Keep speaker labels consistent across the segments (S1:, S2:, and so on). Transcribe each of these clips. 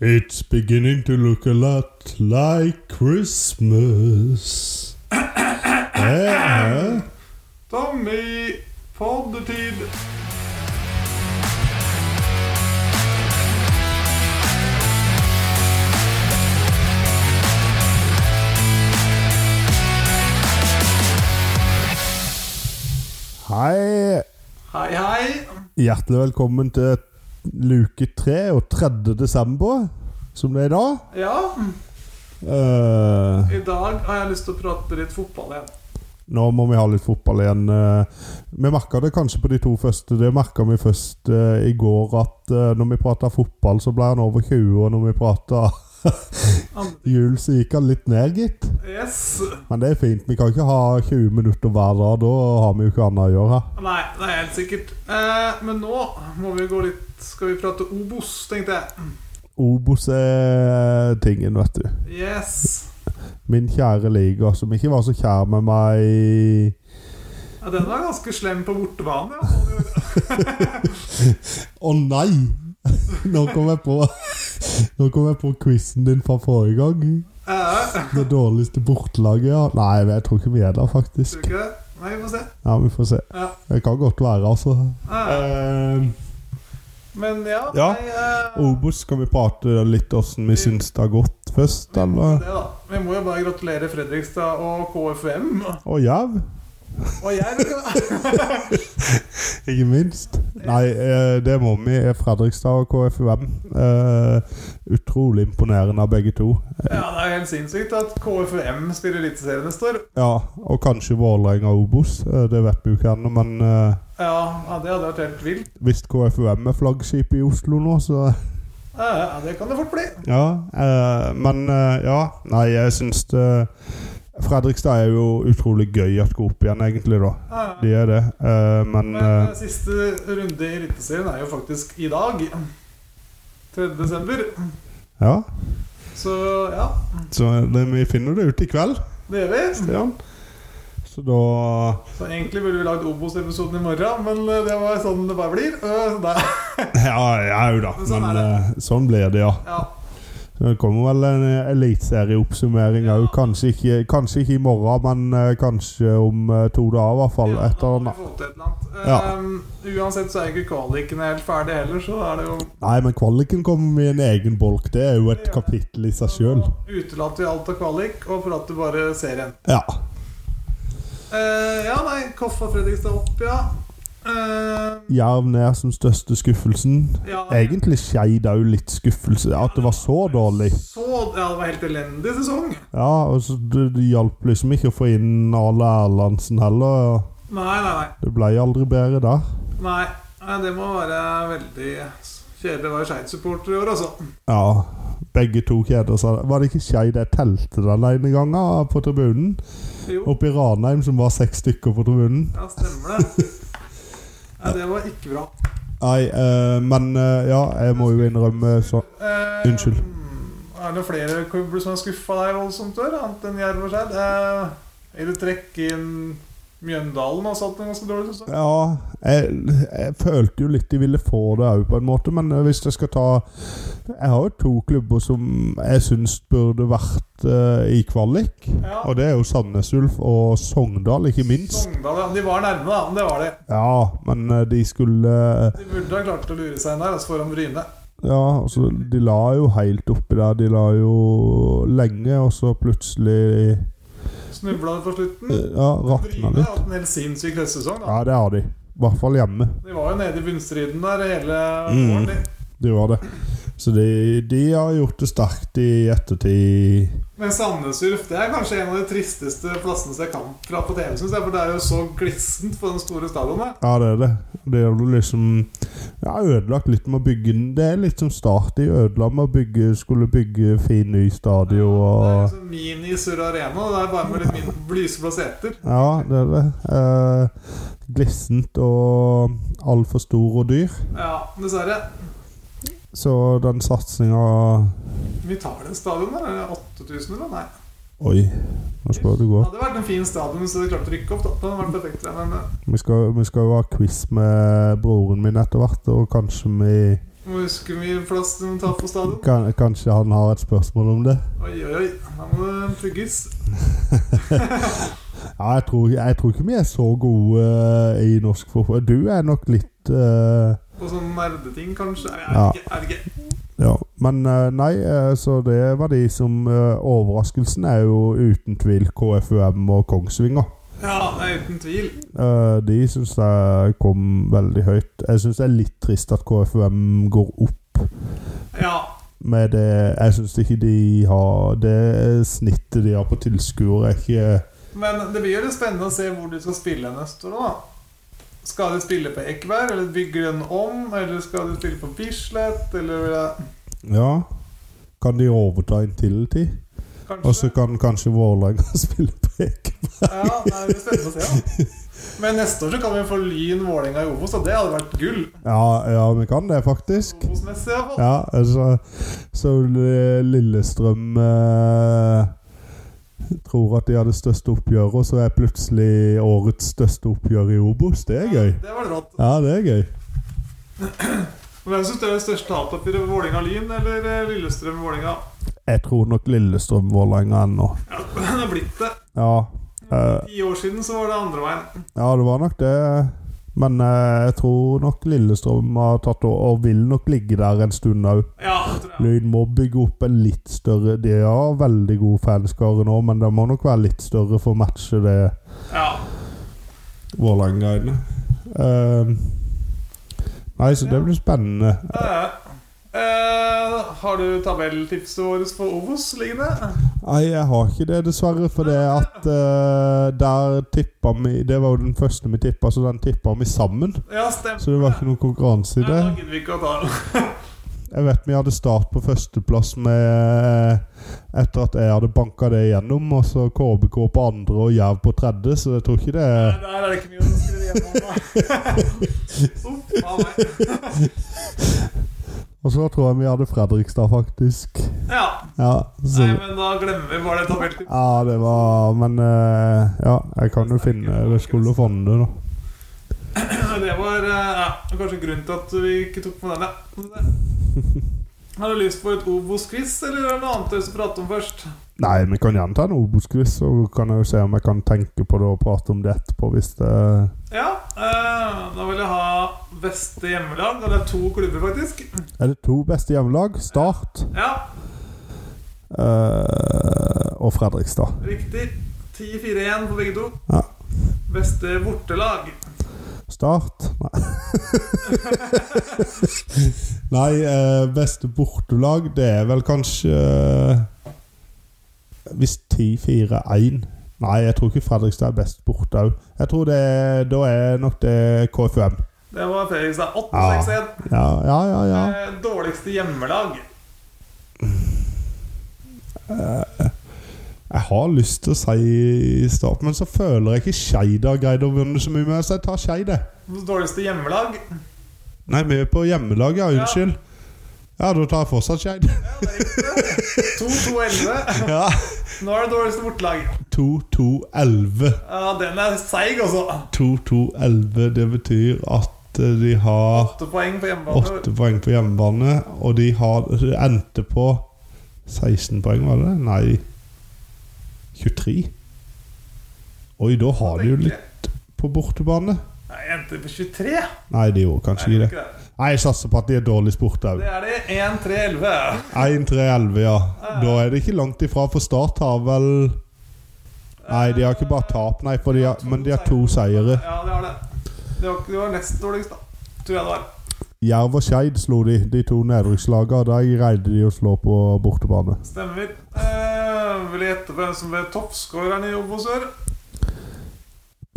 S1: It's beginning to look a lot like Christmas. Eh,
S2: Tommy, poddetid!
S1: Hei.
S2: Hei, hei!
S1: Hjertelig velkommen til luke 3 og 3. desember, som det er i dag.
S2: Ja,
S1: Eh,
S2: i dag har jeg lyst til å prate litt fotball igjen.
S1: nå må vi ha litt fotball igjen. eh. vi merka det kanskje på de to første. Det merka vi først eh, i går, at eh, når vi prata fotball, så ble han over 20, og når vi prata
S2: Andre-
S1: jul, så gikk han litt ned, gitt.
S2: Yes.
S1: Men det er fint. Vi kan ikke ha 20 minutter hver dag. Da har vi jo ikke annet å gjøre.
S2: Nei, det er helt sikkert. Eh, men nå må vi gå litt Skal vi prate Obos, tenkte jeg.
S1: Obos er tingen, vet du.
S2: Yes.
S1: Min kjære liga, som ikke var så kjær med meg i-
S2: Ja, den var ganske slem på bortebane. Ja. sånn gjorde-
S1: Å nei! Nå kom jeg på Nå kom jeg på quizen din fra forrige gang.
S2: Eh,
S1: Det dårligste bortelaget, ja. Nei, jeg tror ikke vi er der,
S2: tror
S1: faktisk.
S2: du ikke det? Nei, vi får se.
S1: Ja, Vi får se.
S2: Ja.
S1: Det kan godt være, altså.
S2: Eh,
S1: Eh,
S2: men ja,
S1: Ja.
S2: nei, eh,
S1: Obos, skal vi prate litt åssen vi syns det har gått først,
S2: vi må,
S1: eller?
S2: det, da. vi må jo bare gratulere Fredrikstad og KFUM.
S1: Å, jerv?
S2: Og jeg vil
S1: Ikke minst. Nei, eh, det må vi. Fredrikstad og KFUM. Eh, Utrolig imponerende av begge to.
S2: Ja, det er jo helt sinnssykt at KFUM spiller Eliteserien neste år.
S1: Ja, og kanskje Vålerenga og Obos. Eh, Det vet vi jo ikke ennå, men eh,
S2: Ja, ja, det hadde vært helt vilt.
S1: hvis KFUM er flaggskip i Oslo nå, så
S2: Ja, ja, det kan det fort bli.
S1: Ja. eh, Men eh, ja, nei, jeg syns det Fredrikstad er jo utrolig gøy at går opp igjen, egentlig, da.
S2: Ja,
S1: De
S2: ja.
S1: er det. Eh, Men
S2: Men
S1: eh,
S2: eh, siste runde i Eliteserien er jo faktisk i dag. 3. desember.
S1: ja.
S2: Så ja,
S1: Så det, vi finner det ut i kveld,
S2: det gjør vi.
S1: Stian. Så da
S2: Så egentlig burde vi lagd Obos-episoden i morgen, men eh, det var sånn det bare blir. Eh, det er-
S1: Ja, ja jo da.
S2: Men sånn
S1: Men
S2: er det.
S1: eh, sånn blir det, ja.
S2: Ja,
S1: Så Det kommer vel en eh, eliteserieoppsummering òg. Kanskje, ikke- kanskje ikke i morgen, men eh, kanskje om eh, to dager, i hvert fall.
S2: ja,
S1: Et
S2: da
S1: eller
S2: må vi
S1: annet.
S2: få til et eller annet.
S1: Ja.
S2: Eh, uansett så er ikke kvaliken helt ferdig heller, så er det jo
S1: Nei, men kvaliken kommer med en egen bolk. Det er jo et
S2: Det gjør det.
S1: kapittel i seg sjøl.
S2: Utelater vi alt av kvalik og prater bare serien.
S1: Ja.
S2: Eh, ja, nei, Koffa Fredrikstad opp, ja. Eh,
S1: Jerv ned som største skuffelsen.
S2: ja.
S1: Egentlig Skeid òg litt skuffelse. At det var så dårlig.
S2: Så, ja, det var helt elendig sesong.
S1: Ja, og så Det det hjalp liksom ikke å få inn Ale Erlandsen heller.
S2: Nei, nei, nei.
S1: Det ble aldri bedre der.
S2: nei. Nei, Det må være veldig kjedelig å være Skeid-supporter i år, altså.
S1: Ja, begge to kjeder seg. Var det ikke Skei det telte den ene gangen på tribunen?
S2: Jo,
S1: Oppe i Ranheim, som var seks stykker på tribunen.
S2: ja, stemmer det. Nei, det var ikke bra.
S1: Nei, eh, men eh, ja, jeg må jo innrømme så
S2: Eh,
S1: Unnskyld.
S2: Er det flere klubber som har skuffa deg voldsomt i år, annet enn Jerv og Skeid? Eh, vil du trekke inn Mjøndalen har satt en ganske dårlig sesong?
S1: Ja, jeg, jeg følte jo litt de ville få det òg, på en måte, men eh, hvis jeg skal ta Jeg har jo to klubber som jeg syns burde vært eh, i kvalik.
S2: Ja.
S1: Og det er jo Sandnes Ulf og Sogndal, ikke minst.
S2: Sogndal, ja. De var nærme, da. Men det var de.
S1: Ja, men eh, de skulle eh,
S2: De burde ha klart å lure seg inn der, altså foran Bryne.
S1: Ja, altså, de la jo helt oppi der. De la jo lenge, og så plutselig
S2: Snubla det på slutten.
S1: eh, Ja, rakna
S2: Bryne har
S1: litt.
S2: hatt en helt sinnssyk høstsesong. da.
S1: Ja, det har de. I hvert fall hjemme.
S2: De var jo nede i bunnstriden der hele
S1: Mm.
S2: våren. de.
S1: De var det. Så de, de har gjort det sterkt i ettertid.
S2: Men Sandnes Ulf det er kanskje en av de tristeste plassene som jeg kan fra på TV, synes jeg. For det er jo så glissent på den store stadionet.
S1: Ja, det er det. Det er jo liksom Jeg har ødelagt litt med å bygge den. Det er litt som start. De ødela med å bygge Skulle bygge fin, ny stadion
S2: Det er
S1: og
S2: liksom mini Sur Arena. og Det er bare med litt min blyseblå seter.
S1: Ja, det er det. Eh, glissent og altfor stor og dyr.
S2: Ja, dessverre.
S1: Så den satsinga
S2: Vi tar den stadion der. Er det 8000 eller? Nei.
S1: Oi, nå spør du
S2: Det
S1: godt.
S2: hadde vært en fin stadion hvis de klarte å rykke opp. da. Det hadde vært perfekt. det, Men eh,
S1: Vi skal, vi skal jo ha quiz med broren min etter hvert, og kanskje vi
S2: Må huske hvor mye plass de må ta på stadion.
S1: Kan, kanskje han har et spørsmål om det?
S2: Oi, oi, oi. Her må det pugges.
S1: Ja, jeg tror, jeg tror ikke vi er så gode eh, i norsk fotball. Du er nok litt eh,
S2: Og sånn nerdeting, kanskje. Jeg
S1: Ja.
S2: vet ikke. Jeg vet ikke.
S1: Ja. Men eh, nei, eh, så det var de som eh, Overraskelsen er jo uten tvil KFUM og Kongsvinger.
S2: Ja, det er uten tvil.
S1: Eh, de syns jeg kom veldig høyt. Jeg syns det er litt trist at KFUM går opp
S2: Ja.
S1: med det. Jeg syns ikke de har Det snittet de har på tilskuere, er ikke
S2: Men det blir jo litt spennende å se hvor de skal spille neste år, da. Skal de spille på Ekeberg, eller bygger den om? Eller skal de spille på Bislett, eller vil jeg-
S1: Ja. Kan de overta en til tid? Og så
S2: kanskje?
S1: kan kanskje Vålerenga spille på Ekeberg?
S2: Ja, det er litt spennende å se, da. Men neste år så kan vi få Lyn Vålerenga i Obos, og det hadde vært gull.
S1: Ja, ja, vi kan det, faktisk.
S2: Obos-messig, iallfall.
S1: Ja, altså Så eh, Lillestrøm eh, tror at de har det største oppgjøret, og så er plutselig årets største oppgjør i Obos. Det er gøy.
S2: Det var det rått.
S1: Ja, det er gøy.
S2: Hvem syns du er det største tapet for Vålerenga-Lyn eller eh, Lillestrøm-Vålerenga?
S1: Jeg tror nok Lillestrøm-Vålerenga ennå.
S2: Ja, det er blitt det.
S1: Ja, eh,
S2: Ti år siden så var det andre veien.
S1: ja, det var nok det. Men eh, jeg tror nok Lillestrøm har tatt over, og vil nok ligge der en stund òg.
S2: Ja, det tror jeg.
S1: Lyn må bygge opp en litt større De har veldig god fanskare nå, men de må nok være litt større for å matche det
S2: Ja.
S1: Vålerenga-greiene. Ehm, nei, så det blir spennende.
S2: Eh, eh, har du tabelltipset vårt for Obos liggende?
S1: Nei, jeg har ikke det, dessverre. For det at eh, der tippa vi Det var jo den første vi tippa, så den tippa vi sammen.
S2: Ja, stemmer.
S1: Så det var ikke noen konkurranse i
S2: Nei,
S1: det.
S2: da gidder vi ikke å ta det.
S1: Jeg vet vi hadde start på førsteplass med eh, Etter at jeg hadde banka det igjennom, og så KBK på andre og Jerv på tredje, så jeg tror ikke det
S2: Nei, Der er det ikke mye å skrive hjemme om, da. Uff, faen meg.
S1: Og så tror jeg vi hadde Fredrikstad, faktisk.
S2: Ja.
S1: Ja, så,
S2: Nei, men da glemmer vi bare det tabelltipset.
S1: ja det var Men eh, ja, jeg kan jo finne Det skulle fonde, da.
S2: Det var eh, ja, kanskje grunnen til at vi ikke tok med den, ja. Har du lyst på et Obos-quiz, eller er det noe annet du vil prate om først?
S1: Nei, vi kan gjerne ta en Obos-quiz, så kan jeg jo se om jeg kan tenke på det og prate om det etterpå, hvis det
S2: Ja, eh, da vil jeg ha beste hjemmelag. Og det er to klubber, faktisk.
S1: Er det to beste hjemmelag? Start
S2: Ja,
S1: eh, og Fredrikstad.
S2: riktig. 10-4-1 på begge to.
S1: Ja.
S2: Beste bortelag.
S1: Start Nei. Nei, eh, beste bortelag, det er vel kanskje eh, Hvis 10-4-1 Nei, jeg tror ikke Fredrikstad er best borte òg. Jeg tror det Da er nok det KFUM.
S2: Det var Fredrikstad. 8-6-1.
S1: Ja. Ja, ja, ja. ja.
S2: Eh, Dårligste hjemmelag.
S1: Jeg har lyst til å si Start, men så føler jeg ikke Skeid har greid å vinne så mye med, så jeg tar Skeid, jeg.
S2: Dårligste hjemmelag.
S1: Nei, vi er på hjemmelaget, ja. Unnskyld. Ja, da tar jeg fortsatt Skeid.
S2: Ja,
S1: Ja.
S2: det er riktig. 2-2-11. Nå er det dårligste bortelag.
S1: 2-2-11.
S2: Ja, den er seig, altså.
S1: 2-2-11, det betyr at eh, de har
S2: Åtte poeng på hjemmebane.
S1: åtte poeng på hjemmebane, og de har de endte på 16 poeng, var det? Nei 23. Oi, da har de jo litt på bortebane.
S2: Nei, Jeg endte på 23.
S1: Nei, de gjorde kanskje
S2: Nei,
S1: ikke
S2: det er
S1: det.
S2: ikke det.
S1: Nei, Jeg satser på at de er dårlig sport òg.
S2: Det er det. 1-3-11.
S1: 1-3-11, ja. Da er det ikke langt ifra, for Start har vel Nei, de har ikke bare tap, nei, for de har, men de har to seire.
S2: Ja, det har det. Det var, det var nest dårligst, da. Tror jeg det var.
S1: Jerv og Skeid slo de, de to nedrykkslagene. Der greide de å slå på bortebane.
S2: Stemmer. Eh, vil jeg gjette på hvem som ble toppskåreren i Obos Sør?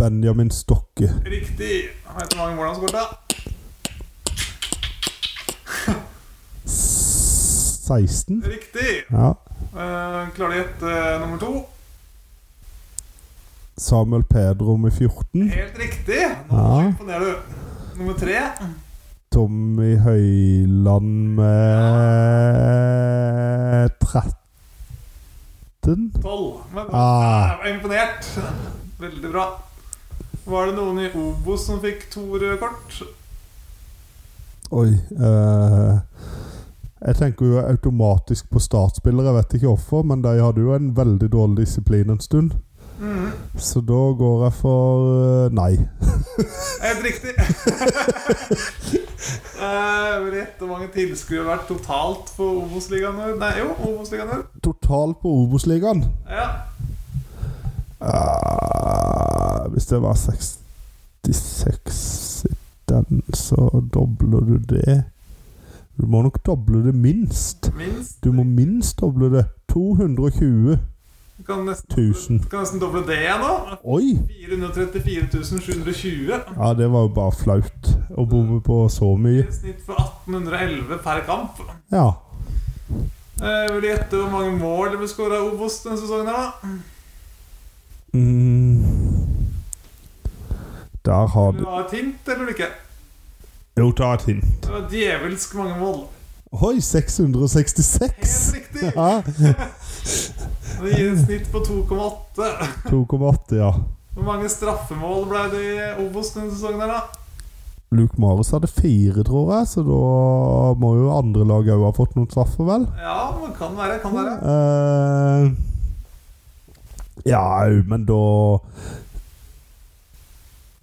S1: Benjamin Stokke.
S2: Riktig. Vet du hvor mange mål han skåret?
S1: 16?
S2: Riktig.
S1: Ja.
S2: Eh, klarer du å gjette nummer to?
S1: Samuel Pedro med 14.
S2: Helt riktig. Nå
S1: Ja.
S2: imponerer du. Nummer tre?
S1: Tommy Høyland med 13?
S2: Tolv. Men
S1: Ah.
S2: jeg var imponert. Veldig bra. Var det noen i Obos som fikk to røde kort?
S1: Oi. eh, jeg tenker jo automatisk på startspillere, jeg vet ikke hvorfor, men de hadde jo en veldig dårlig disiplin en stund.
S2: Mm.
S1: Så da går jeg for eh, nei.
S2: Helt riktig. Eh, Rett hvor mange tilskuere har vært totalt på Obos-ligaen i år? Nei, jo, Obos-ligaen i år.
S1: Totalt på Obos-ligaen
S2: Ja.
S1: eh, Hvis det var 66 i den, så dobler du det. Du må nok doble det minst.
S2: Minst.
S1: Du må minst doble det. 220
S2: Du kan nesten,
S1: 000.
S2: du kan nesten doble det igjen nå.
S1: Oi!
S2: 434 720.
S1: Ja, det var jo bare flaut å bomme på så
S2: I
S1: mye.
S2: snitt for 1811 per kamp.
S1: Ja.
S2: Eh, vil du gjette hvor mange mål det ble skåra i Obos denne sesongen? her, da?
S1: Mm. Der har du
S2: Vil du ha et hint, eller vil du ikke?
S1: Jo, ta et hint.
S2: Det var djevelsk mange mål.
S1: Oi, 666!
S2: Helt riktig.
S1: Ja,
S2: Det gir et snitt på 2,8.
S1: 2,8, ja.
S2: Hvor mange straffemål ble det i Obos denne sesongen? her, da?
S1: Luke Marius hadde fire, tror jeg, så da må jo andre lag òg ha fått noen straffer, vel?
S2: Ja, men kan være. kan være
S1: Eh, ja, au, men da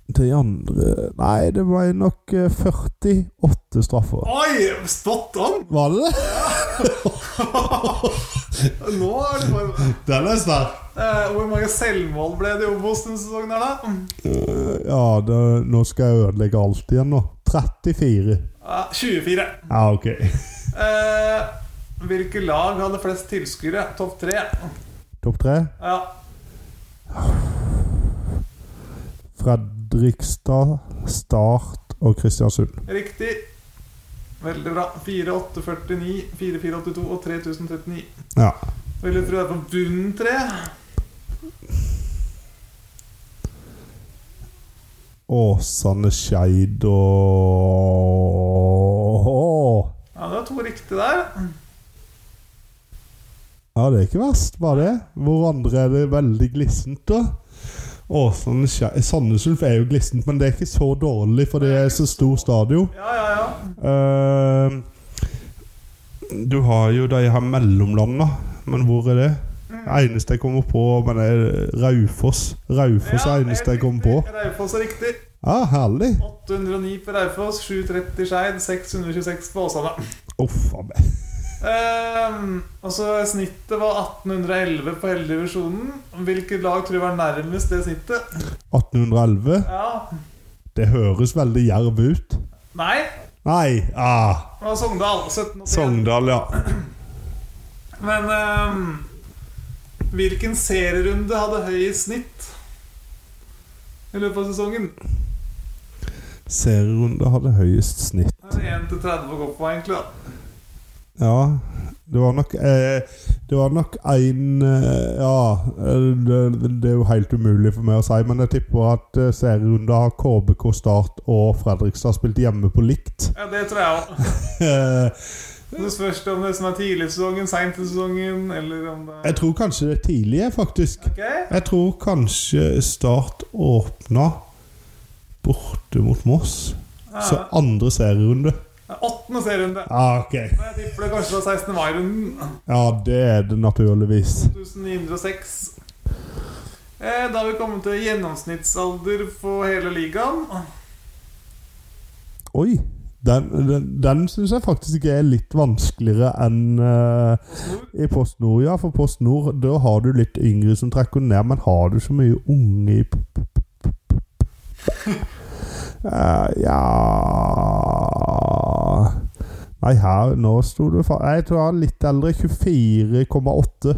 S1: De andre Nei, det ble nok eh, 48 straffer.
S2: Oi! Spot on!
S1: Var det det?
S2: Nå er det bare
S1: Den er sterk.
S2: Eh, Hvor mange selvmål ble det i Obos denne sesongen? her da? Mm.
S1: Ja, det, nå skal jeg ødelegge alt igjen, nå. 34.
S2: Ja, 24.
S1: Ja, OK.
S2: Eh, hvilke lag hadde flest tilskuere? Topp tre.
S1: Topp tre?
S2: Ja.
S1: Fredrikstad, Start og Kristiansund.
S2: Riktig. Veldig bra. 4849, 4482 og 3039.
S1: Ja.
S2: Vil du tro det er på bunnen tre?
S1: Åsane, Skeid og
S2: Ja, det var to riktige der.
S1: Ja, det er ikke verst, bare det. Hvor andre er det veldig glissent, da? Åsane, Skeid Sandnes Ulf er jo glissent, men det er ikke så dårlig, for det er så stor stadion.
S2: Ja, ja, ja.
S1: Eh, du har jo de her mellomlandene, men hvor er det? Det eneste jeg kommer på, men det er Raufoss. Raufoss
S2: Ja,
S1: er det
S2: helt
S1: eneste jeg kommer på.
S2: riktig. Raufoss er riktig.
S1: Ja, herlig.
S2: 809 på Raufoss, 730 Skeid, 626 på Åsane.
S1: Uff a meg.
S2: Ehm, og så Snittet var 1811 på hele divisjonen. Hvilket lag tror du var nærmest det snittet?
S1: 1811.
S2: Ja,
S1: Det høres veldig jerv ut.
S2: Nei,
S1: Nei ah,
S2: det var Sogndal. 1781.
S1: Sogndal, ja.
S2: Men ehm, hvilken serierunde hadde høyest snitt i løpet av sesongen?
S1: Serierunde hadde høyest snitt.
S2: 1 til 30 å gå på, egentlig. da
S1: Ja, det var nok eh, Det var nok én eh, Ja, eh, det, det er jo helt umulig for meg å si, men jeg tipper at eh, serierunde har KBK Start og Fredrikstad spilt hjemme på likt.
S2: Ja, Det tror jeg òg.
S1: Eh,
S2: Det spørs det om det som er tidlig i sesongen, seint i sesongen, eller om det
S1: jeg tror kanskje det er tidlig, jeg, faktisk.
S2: Ok?
S1: Jeg tror kanskje Start åpna borte mot Moss. Så
S2: Ja.
S1: andre serierunde.
S2: Åttende serierunde.
S1: Ah, ok.
S2: Og Jeg tipper det kanskje var 16. mai-runden.
S1: Ja, det er det naturligvis.
S2: 1906. Eh, Da har vi kommet til gjennomsnittsalder på hele ligaen.
S1: Oi! Den, den, den syns jeg faktisk ikke er litt vanskeligere enn eh,
S2: Snor.
S1: i Post Nord. Ja, for Post Nord da har du litt yngre som trekker ned, men har du så mye unge i p- p- p- p- p- Eh, Ja Nei, her Nå sto du fa... Jeg tror jeg er litt eldre. 24,8.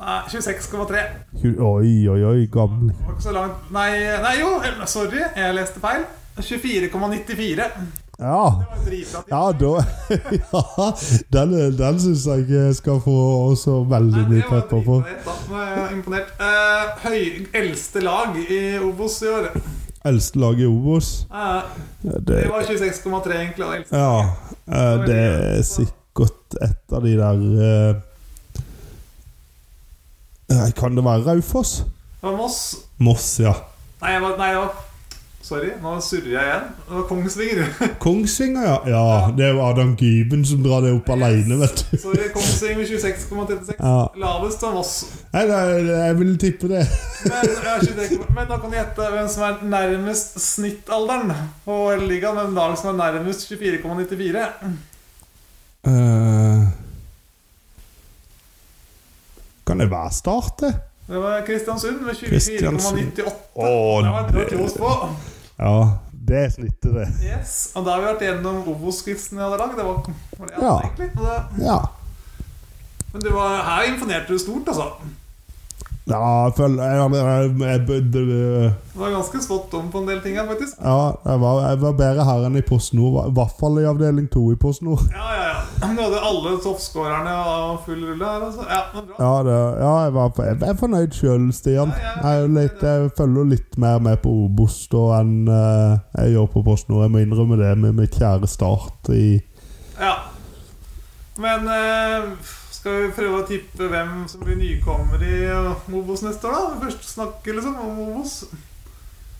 S2: Nei, 26,3.
S1: Tju- Oi, oi, oi. Gammel.
S2: Det var ikke så langt Nei, nei jo, sorry, jeg leste feil. 24,94.
S1: Ja.
S2: Det var dritbra. tid.
S1: Ja, da ja, Den, den syns jeg ikke jeg skal få så veldig
S2: Nei,
S1: mye
S2: det var
S1: pepper på.
S2: dritbra tid, da. Nå er jeg Imponert. Eh, høy, eldste lag i Obos i år.
S1: Eldste lag i Obos.
S2: Eh,
S1: Det,
S2: det var 26,3, egentlig. og eldste.
S1: ja, eh, det er sikkert et av de der eh, eh, Kan det være Raufoss?
S2: Det var Moss.
S1: Moss, ja.
S2: Nei, jeg var, nei, det var Sorry, nå surrer jeg igjen. Det var Kongsvinger.
S1: Kongsvinger, ja. ja. Det er jo Adam Gyben som drar det opp alene, vet du.
S2: Sorry, Kongsvinger med 26,36.
S1: Ja.
S2: Lavest av Voss.
S1: Nei, nei, jeg vil tippe det.
S2: Men, jeg er ikke sikker på- men da kan du gjette hvem som er nærmest snittalderen på hele ligaen. Hvem lag som er nærmest 24,94.
S1: Eh, kan det være Start, det?
S2: Det var Kristiansund med
S1: Kristiansund.
S2: 24,98.
S1: Å,
S2: det var det
S1: det-
S2: var klos på.
S1: Ja, det er snittet, det.
S2: Yes, og Da har vi vært gjennom Obos-quizen jeg hadde lagd. Det var, var det jeg hadde,
S1: Ja.
S2: egentlig. Og det,
S1: Ja.
S2: men det var, her imponerte du stort, altså.
S1: Ja, jeg føler jeg, jeg, jeg, jeg, jeg
S2: Det var ganske spot on på en del ting her, faktisk.
S1: Ja, jeg var, jeg var bedre her enn i Post Nord. I hvert fall i avdeling 2 i Post Nord.
S2: Ja, ja, ja. Du hadde alle toppskårerne og full rulle her, altså. Ja, men bra.
S1: Ja, det, ja jeg, var, jeg er fornøyd sjøl, Stian.
S2: Ja, ja.
S1: Jeg, er jo litt, jeg følger litt mer med på Obos da enn eh, jeg gjør på Post Nord. Jeg må innrømme det med mitt kjære Start i
S2: Ja. Men eh, skal vi prøve å tippe hvem som blir nykommer i eh, Obos neste år, da? Først snakke liksom om Obos.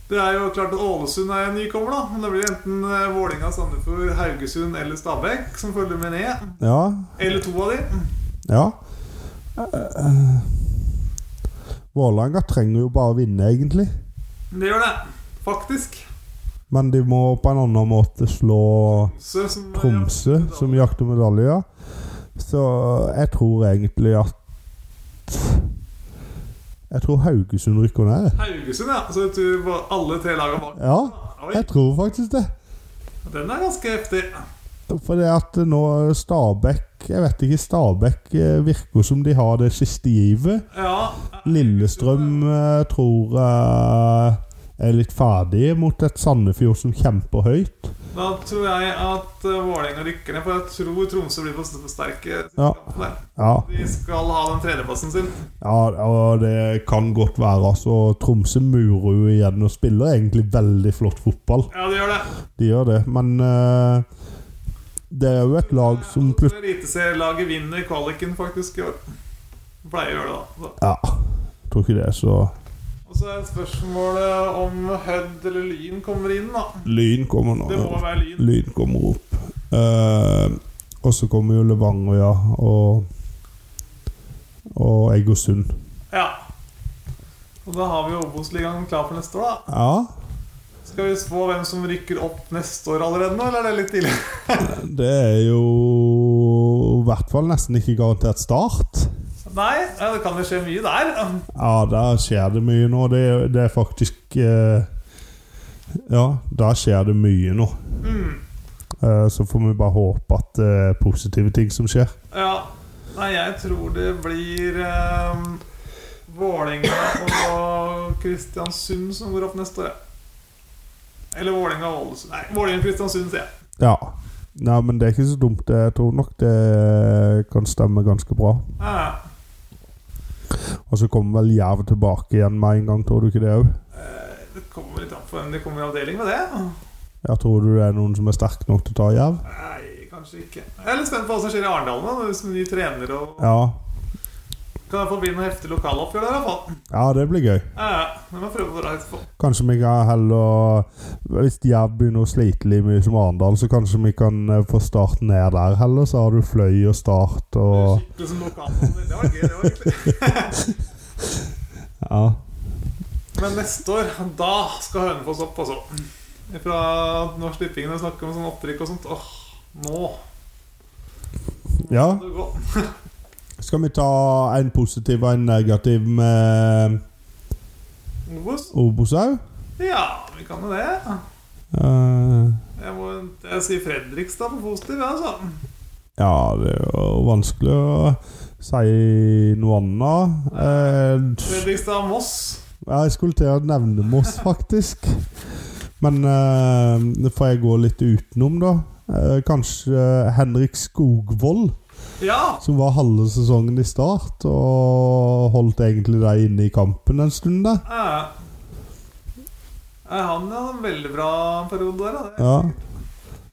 S2: Det er jo klart at Ålesund er en nykommer, da. Men det blir enten eh, Vålinga, Sandefjord, Haugesund eller Stabæk som følger med ned.
S1: Ja.
S2: Eller to av de.
S1: ja. Eh, Vålerenga trenger jo bare å vinne, egentlig.
S2: Det gjør det. Faktisk.
S1: Men de må på en annen måte slå
S2: Så, som, eh,
S1: Tromsø som jakter medaljer. Så jeg tror egentlig at Jeg tror Haugesund rykker ned.
S2: Haugesund, ja. Så du var alle tre lagene bak.
S1: Ja,
S2: Oi,
S1: jeg tror faktisk det.
S2: den er ganske heftig.
S1: For det at nå Stabæk Jeg vet ikke, Stabæk eh, virker som de har det siste givet.
S2: Ja.
S1: Lillestrøm eh, tror jeg er litt ferdig mot et Sandefjord som kjemper høyt.
S2: Da tror jeg at eh, Vålerenga rykker ned, for jeg tror Tromsø blir for for sterke.
S1: Ja.
S2: Der.
S1: Ja,
S2: De skal ha den tredjeplassen sin.
S1: Ja, og det kan godt være. altså Tromsø murer jo igjen og spiller egentlig veldig flott fotball.
S2: Ja, de gjør det.
S1: De gjør det, men eh, det er jo et lag som
S2: Jeg
S1: plutselig
S2: tror Eliteserielaget vinner kvaliken faktisk i år. De Pleier å gjøre det, da. Så.
S1: Ja, jeg tror ikke det, så
S2: Og så er spørsmålet om Hødd eller Lyn kommer inn, da.
S1: Lyn kommer nå.
S2: Det må være Lyn.
S1: Lyn kommer opp. Eh, og så kommer jo Levanger, ja, og og Egersund.
S2: Ja. Og da har vi Obos-ligaen klar for neste år, da.
S1: Ja,
S2: Skal vi spå hvem som rykker opp neste år allerede nå, eller er det litt tidlig?
S1: det er jo i hvert fall nesten ikke garantert start.
S2: Nei, ja, det kan jo skje mye der.
S1: Ja, der skjer det mye nå. Det, det er faktisk eh, Ja, der skjer det mye nå.
S2: Mm.
S1: Eh, så får vi bare håpe at det er positive ting som skjer.
S2: Ja. Nei, jeg tror det blir eh, Vålinga og Kristiansund som går opp neste år, ja. Eller Vålinga og Ålesund. Nei, Vålinga og Kristiansund, sier jeg.
S1: Ja. Nei, men det er ikke så dumt. det. Jeg tror nok det kan stemme ganske bra.
S2: Ja, ja.
S1: Og så kommer vel Jerv tilbake igjen med en gang, tror du ikke det òg?
S2: Eh, Det kommer litt an på hvem det kommer i avdeling med det.
S1: Ja, tror du det er noen som er sterke nok til å ta Jerv?
S2: Nei, kanskje ikke. Jeg er litt spent på hva som skjer i Arendal nå, hvis de trener og
S1: Ja.
S2: Kan i hvert fall bli noe heftig lokaloppgjør der, i hvert fall.
S1: ja, det blir gøy.
S2: Ja, ja. Det må jeg prøve å være litt på.
S1: Kanskje vi kan heller Hvis Jerv begynner å slite like mye som Arendal, så kanskje vi kan eh, få Start ned der heller. Så har du Fløy og Start og
S2: Skikkelig som lokalhandel. Det var gøy, det var egentlig.
S1: Ja.
S2: Men neste år, da skal Hønefoss opp, altså. Fra når slippingene snakker om sånn opprykk og sånt. Åh, nå
S1: ja.
S2: må det gå.
S1: Skal vi ta en positiv og en negativ med
S2: Obos?
S1: Obos òg?
S2: Ja, vi kan jo det.
S1: Eh,
S2: Jeg, må, jeg sier Fredrikstad på positiv, ja, altså.
S1: ja, det er jo vanskelig å si noe annet. Eh,
S2: Fredrikstad-Moss.
S1: jeg skulle til å nevne Moss, faktisk. Men eh, det får jeg gå litt utenom, da. Eh, kanskje Henrik Skogvold,
S2: Ja!
S1: som var halve sesongen i start, og holdt egentlig deg inne i kampen en stund der.
S2: ja, ja. Ja, Han hadde en veldig bra periode der. da.
S1: Ja.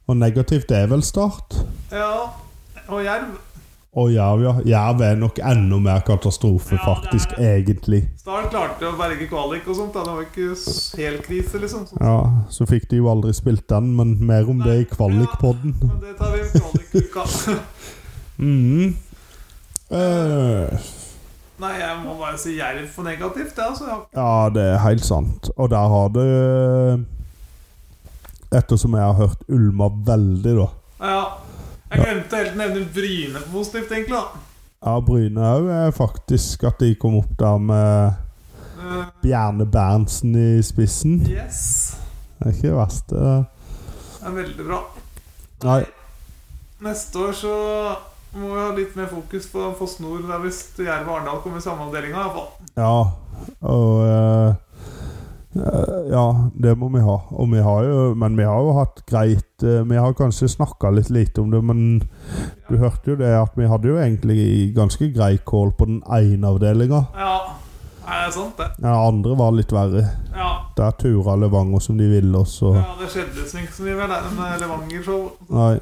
S1: Og negativt er vel Start?
S2: Ja. Og Jerv.
S1: Og Jerv, ja. Jerv er nok enda mer katastrofe,
S2: Ja, det er
S1: faktisk,
S2: det.
S1: egentlig.
S2: Start klarte å berge kvalik og sånt. Da. Det var ikke s- helt krise, liksom. Sånn.
S1: Ja, Så fikk de jo aldri spilt den, men mer om det i kvalikpodden.
S2: Ja, men det tar vi i kvalikuka.
S1: Mm. Eh,
S2: Nei, jeg må bare si jerv for negativt, jeg, altså. Jeg har-
S1: ja, det er helt sant. Og der har det Ettersom jeg har hørt ulma veldig, da.
S2: Ja. Jeg glemte helt å nevne Bryne på positivt, egentlig. da
S1: Ja, Bryne òg er eh, faktisk at de kom opp der med
S2: Eh,
S1: Bjarne Berntsen i spissen.
S2: Yes.
S1: Det er ikke det verste. det.
S2: Det er veldig bra.
S1: Nei.
S2: Neste år så må vi ha litt mer fokus på Foss Nord. Der hvis Jerv og Arendal kommer i samme avdelinga, iallfall.
S1: Ja, og eh, eh, Ja, det må vi ha. Og vi har jo, men vi har jo hatt greit eh, Vi har kanskje snakka litt lite om det, men du hørte jo det at vi hadde jo egentlig ganske grei kål på den ene avdelinga.
S2: Ja. Nei, det er sant, det.
S1: Den andre var litt verre.
S2: Ja.
S1: Der tura Levanger som de ville, og så
S2: ja det skjedde liksom ikke så mye med det med Levanger-show.
S1: Nei.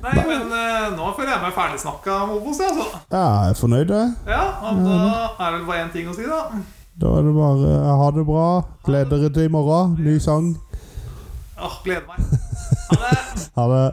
S2: Nei, men eh, nå føler jeg meg ferdigsnakka om Obos, jeg, altså.
S1: Jeg er fornøyd, jeg.
S2: Ja, og da er det vel bare én ting å si, da.
S1: Da er det bare eh, ha det bra. Gled dere til i morgen. Ny sang.
S2: Åh, gleder meg. Ha det.
S1: Ha det.